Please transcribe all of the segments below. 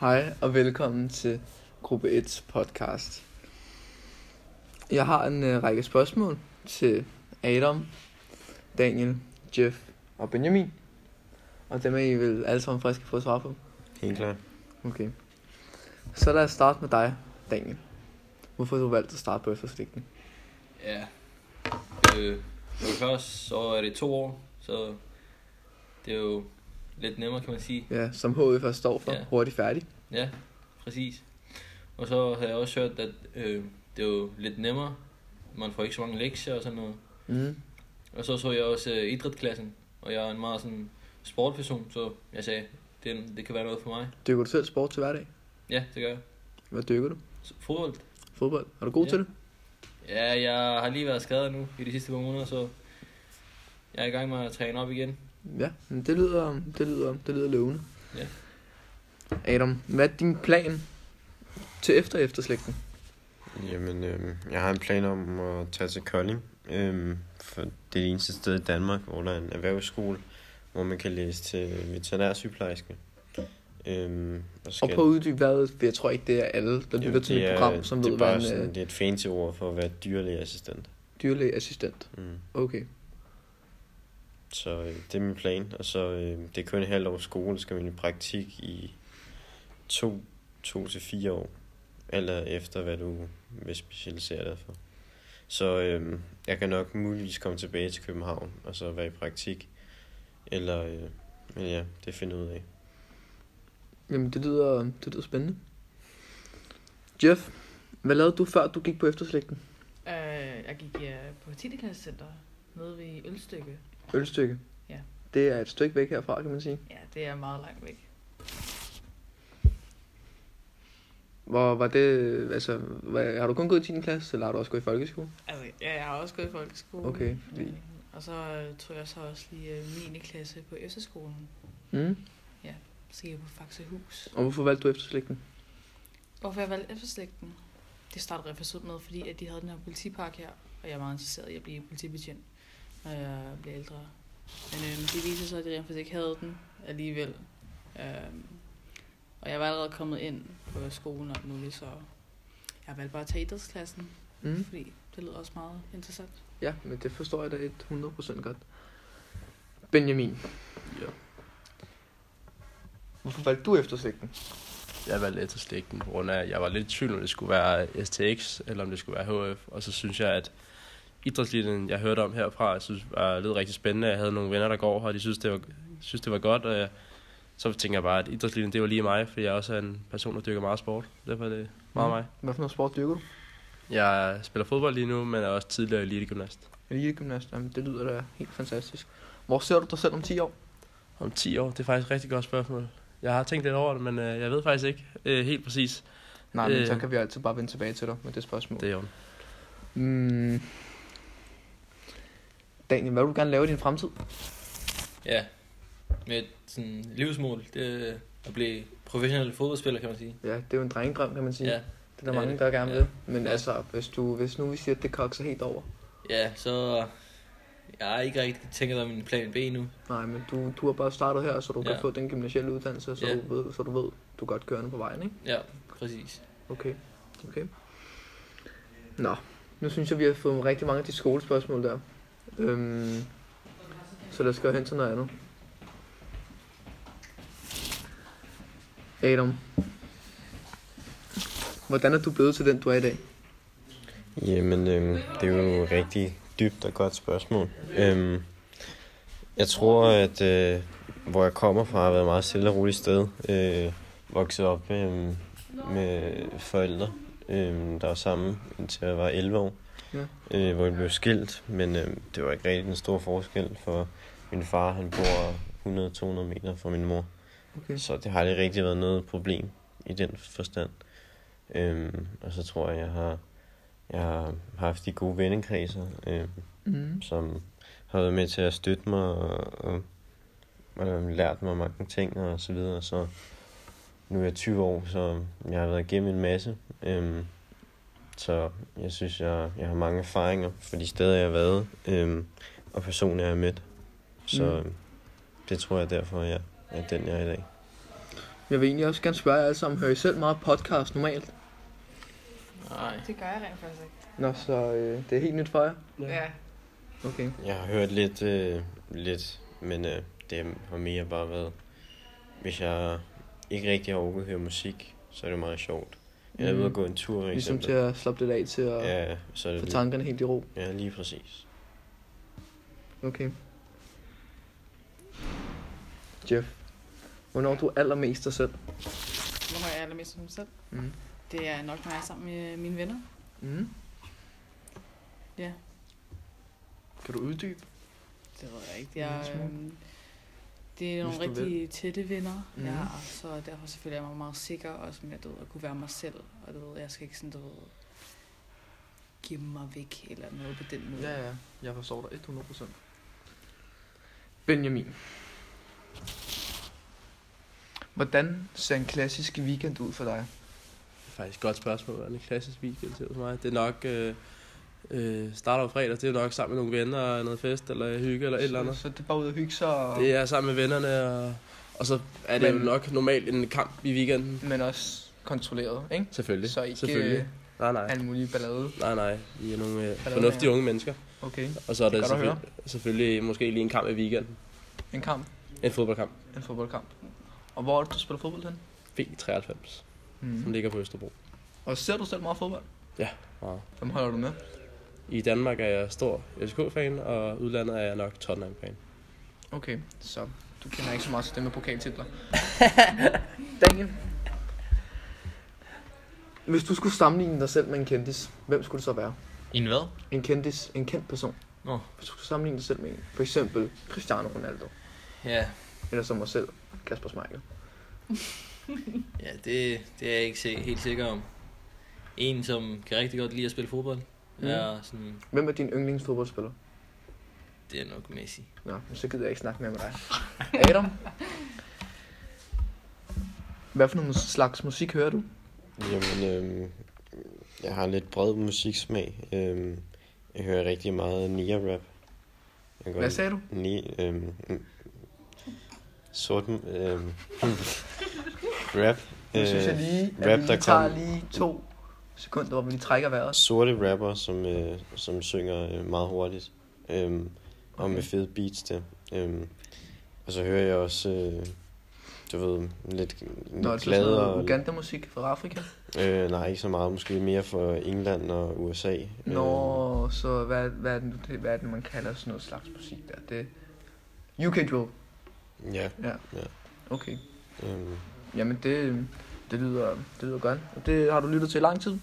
Hej og velkommen til Gruppe 1's podcast. Jeg har en øh, række spørgsmål til Adam, Daniel, Jeff og Benjamin. Og dem er I vel alle sammen friske på at svare på. Helt klart. Okay. Så lad os starte med dig, Daniel. Hvorfor har du valgt at starte på efterslægten? Ja. Øh, for det første, så er det to år, så det er jo lidt nemmere, kan man sige. Ja, som HF også står for. Ja. Hurtigt færdig. Ja, præcis. Og så havde jeg også hørt, at øh, det er jo lidt nemmere. Man får ikke så mange lektier og sådan noget. Mm. Og så så jeg også øh, idrætsklassen, og jeg er en meget sådan sportperson, så jeg sagde, det, det kan være noget for mig. Dykker du selv sport til hverdag? Ja, det gør jeg. Hvad dykker du? Så, fodbold? Fodbold? Er du god Ja. til det? Ja, jeg har lige været skadet nu i de sidste par måneder, så jeg er i gang med at træne op igen. Ja, men det lyder, det lyder, det lyder lovende. Ja. Adam, hvad er din plan til efter efterslægten? Jamen, øhm, jeg har en plan om at tage til Kolding. Øhm, for det er det eneste sted i Danmark, hvor der er en erhvervsskole, hvor man kan læse til veterinærsygeplejerske. Øhm, og, Og prøv at uddybe hvad, for jeg tror ikke, det er alle, der lytter til mit program, som det er ved, bare hvad en øh- sådan, sådan... det er et fancy ord for at være dyrlægeassistent. dyrlægeassistent. Mm. Okay. Så øh, det er min plan. Og så øh, det er kun et halvt års skole, så skal man i praktik i to, to til fire år. Eller efter, hvad du vil specialisere dig for. Så øh, jeg kan nok muligvis komme tilbage til København og så være i praktik. Eller, øh, men ja, det finder jeg ud af. Jamen, det lyder, det lyder spændende. Jeff, hvad lavede du, før du gik på efterslægten? Øh, jeg gik ja, på 10. klassecenter nede ved Ølstykke. Ølstykke. Ja. Det er et stykke væk herfra, kan man sige. Ja, det er meget langt væk. Hvor var det, altså, hvad, har du kun gået i 10. klasse, eller har du også gået i folkeskole? Altså, ja, jeg har også gået i folkeskole. Okay. Øh, og så øh, tog jeg så også lige øh, 9. klasse på efterskolen. Mm. Så jeg på Faxehus. Og hvorfor valgte du efterslægten? Hvorfor jeg valgte efterslægten? Det startede rigtig sødt med, fordi at de havde den her politipark her, og jeg var meget interesseret i at blive politibetjent, når jeg blev ældre. Men øh, det viste sig, at de rent faktisk ikke havde den alligevel. Øh, og jeg var allerede kommet ind på skolen og alt muligt, så jeg valgte bare at tage idrætsklassen, Mm. fordi det lød også meget interessant. Ja, men det forstår jeg da 100% godt. Benjamin. Ja. Hvorfor valgte du efterslægten? Jeg valgte efterslægten på grund af, at jeg var lidt i tvivl, om det skulle være STX, eller om det skulle være HF. Og så synes jeg, at idrætslinjen, jeg hørte om herfra, jeg synes, var lidt rigtig spændende. Jeg havde nogle venner, der går her, og de synes, det var, synes, det var godt. Og jeg, så tænker jeg bare, at idrætslinjen, det var lige mig, fordi jeg også er en person, der dyrker meget sport. Derfor er det meget Mm. mig. Hvad for noget sport dyrker du? Jeg spiller fodbold lige nu, men er også tidligere elitegymnast. Elite-gymnast. Jamen, det lyder da helt fantastisk. Hvor ser du dig selv om 10 år? Om 10 år, det er faktisk et rigtig godt spørgsmål. Jeg har tænkt lidt over det, men øh, jeg ved faktisk ikke øh, helt præcis. Nej, men Øh. så kan vi altid bare vende tilbage til dig med det spørgsmål. Det er jo. Mm. Daniel, hvad vil du gerne lave i din fremtid? Ja, med et sådan, livsmål, det er at blive professionel fodboldspiller, kan man sige. Ja, det er jo en drengedrøm, kan man sige. Ja, det er der det er mange, det. der gerne Ja. vil. Øh, Men Ja. altså, hvis, du, hvis nu vi siger, at det kokser helt over. ja så jeg har ikke rigtig tænkt om min plan B nu. Nej, men du, du har bare startet her, så du ja. Ja. kan få den gymnasielle uddannelse, så, Ja. du ved, så du ved, du er godt kørende på vejen, ikke? Ja, præcis. Okay, okay. Nå, nu synes jeg, vi har fået rigtig mange af de skolespørgsmål der. Øhm, så lad os gå hen til noget andet. Adam, hvordan er du blevet til den, du er i dag? Jamen, øhm, det er jo et rigtig dybt og godt spørgsmål. Øhm, jeg tror, at øh, hvor jeg kommer fra, har været et meget stille og roligt sted. Øh, vokset op øhm, med forældre, øhm, der var sammen indtil jeg var 11 år. Ja. Øh, hvor jeg blev skilt, men øhm, det var ikke rigtig en stor forskel, for min far han bor 100-200 meter fra min mor. Okay. Så det har aldrig rigtig været noget problem i den forstand. Øhm, og så tror jeg, jeg har, jeg har haft de gode vennekredser, øhm, Mm. som har været med til at støtte mig og, og, og øh, lært mig mange ting og så videre. Så nu er jeg 20 år, så jeg har været igennem en masse. Øhm, så jeg synes, jeg, jeg har mange erfaringer fra de steder, jeg har været, øhm, og personer, jeg har mødt. Så Mm. mm. det tror jeg derfor, jeg er den, jeg er i dag. Jeg vil egentlig også gerne spørge jer alle sammen, hører I selv meget podcast normalt? Nej. Det gør jeg rent faktisk ikke. Nå, så øh, det er helt nyt for jer. Ja. Okay. Jeg har hørt lidt, øh, lidt men øh, det har mere bare været, hvis jeg ikke rigtig har orket at høre musik, så er det meget sjovt. Jeg er ude at gå en tur, for Ligesom eksempel. til at slappe lidt af til at ja, Ja, så er Øh. det få lige, tankerne helt i ro. ja, lige præcis. Okay. Jeff, hvornår er du allermest dig selv? Hvornår er jeg allermest som mig selv? Mm. Det er nok mig sammen med mine venner. Mm. Ja. Kan du uddybe? Det ved jeg ikke. En lille Jeg, smule. øhm, det er nogle Hvis du rigtig tætte venner, Mhm. mm. ja, så derfor så føler jeg mig meget sikker, også med at, du ved, at kunne være mig selv, og du ved, jeg skal ikke sådan, du ved, gemme mig væk, eller noget på den måde. Ja, ja. Jeg forstår dig 100%. Benjamin. Hvordan ser en klassisk weekend ud for dig? Det er faktisk et godt spørgsmål, hvordan en klassisk weekend ser ud for mig. Det er nok... Øh, øh, starter jo fredag, det er jo nok sammen med nogle venner, og noget fest, eller hygge, eller et eller andet. Så, så det er bare ud at hygge sig, og, Det er sammen med vennerne, og, og så er det Men- jo nok normalt en kamp i weekenden. men også kontrolleret, ikke? Selvfølgelig. Så ikke Selvfølgelig. Selvfølgelig. Nej, nej. alle mulige ballade. Nej, nej. Vi er nogle øh, der fornuftige med? unge mennesker. Okay, Og så er Det er der godt at selvfølgelig, selvfølgelig måske lige en kamp i weekenden. en kamp, En fodboldkamp. en fodboldkamp. Og hvor er det, du spiller fodbold hen? B93, som ligger på Østerbro. Og ser du selv meget fodbold? Wow. Hvem holder du med? I Danmark er jeg stor FCK-fan, og udlandet er jeg nok Tottenham-fan. Okay, så du kender ikke så meget til det med pokaltitler. Daniel. Hvis du skulle sammenligne dig selv med en kendis, hvem skulle det så være? En hvad? En kendis, en kendt person. Nå. Hvis du skulle sammenligne dig selv med en, for eksempel Cristiano Ronaldo, Ja, eller som mig selv, Kasper Schmeichel. ja det, det er jeg ikke se, helt sikker om. En, som kan rigtig godt lide at spille fodbold, Mm. mm. er sådan, Hvem er din yndlingsfodboldspiller? det er nok Messi. Nå, men så gider jeg ikke snakke mere med dig. Adam? Hvad for nogle slags musik hører du? Jamen, øhm, jeg har lidt bred musiksmag. Øhm, jeg hører rigtig meget Nia-rap. Jeg kan Hvad godt- sagde du? Ni, øhm, mm, sort, øhm, rap. Nu synes jeg øh, lige, at rap, vi der lige tager kom. lige to sekunder, hvor vi lige trækker vejret. sorte rapper, som, øh, som synger øh, meget hurtigt. Øhm, og med Okay. fede beats der. Øhm, og så hører jeg også, øh, du ved, lidt, Nå, er lidt det så sådan gladere. noget Uganda-musik fra Afrika? Øh, nej, ikke så meget. Måske mere for England og USA. Øh, Nå, så hvad, hvad, er det, nu, det- hvad er det, man kalder sådan noget slags musik der? Det UK drill. ja. Okay. Øhm, Jamen det, det, lyder, det lyder godt. Og det har du lyttet til i lang tid?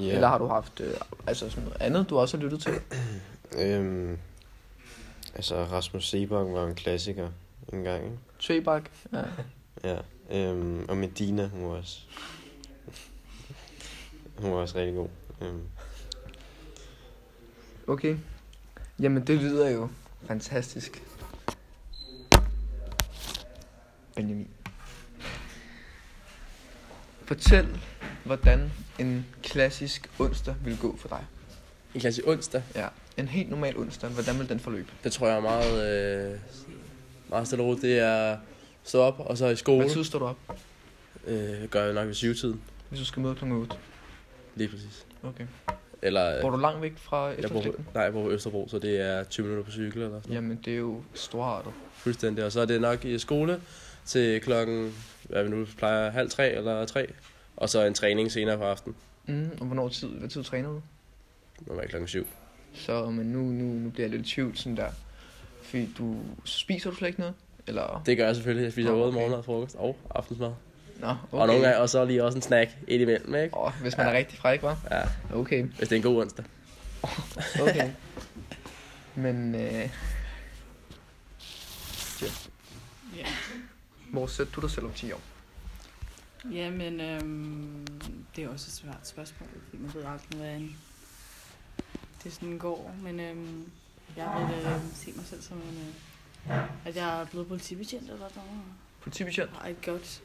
ja. Eller har du haft øh, altså sådan noget andet, du også har lyttet til? Øhm, altså, Rasmus Sebak var en klassiker en gang, ikke? Trebak? Ja. Ja, øhm, og Medina, hun var også... hun var også rigtig god. Øhm, Okay. Jamen, det lyder jo fantastisk. Benjamin. Fortæl, hvordan en klassisk onsdag vil gå for dig. En klasse onsdag, Ja, en helt normal onsdag, hvordan vil den forløbe? det tror jeg er meget, øh, meget stille og roligt. Det er stå op, og så i skole. Hvad tid står du op, Øh, gør jeg nok ved syvtiden, hvis du skal møde kl. 8? lige præcis. Okay. Eller, Bor øh, du langt væk fra jeg bor, efterslægten? på- nej, jeg bor på Østerbro, så det er 20 minutter på cykel eller sådan Jamen, det er jo storartet. Fuldstændig, og så er det nok i skole til klokken, hvad vi nu plejer, halv tre eller tre. Og så en træning senere på aftenen, Mm, og hvornår tid, hvad tid træner du? normalt klokken syv. Så, men nu, nu, nu bliver jeg lidt i tvivl, sådan der. Fordi du spiser du slet ikke noget? Eller? Det gør jeg selvfølgelig, jeg spiser Nå, både okay. morgenmad, frokost og aftensmad. Nå, okay. Okay. Og nogle gange, og så lige også en snack indimellem, ikke? Åh, oh, hvis man ja. er rigtig fræk, var. Ja, Okay, hvis det er en god onsdag. okay. Men, øh, Ja. hvor sætter du dig selv om 10 år? Jamen, øhm, det er også et svært spørgsmål, fordi man ved aldrig, hvordan det sådan går. Men øhm, jeg vil øh, se mig selv som en, øh, at jeg er blevet politibetjent eller sådan noget. Politibetjent? har et godt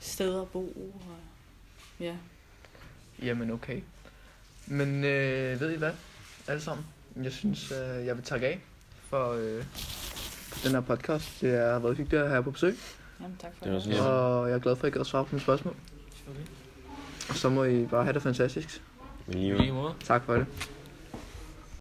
sted at bo. Og, ja. Jamen, okay. Men øh, ved I hvad? Alle sammen. Jeg synes, øh, jeg vil takke af for øh, den her podcast. Det har været hyggeligt at have jer på besøg. Jamen, tak for Det var det. sådan- Ja. Og jeg er glad for, at I gad at svare på mine spørgsmål. Og så må I bare have det fantastisk. Men I lige lige måde. Tak for det. Tak.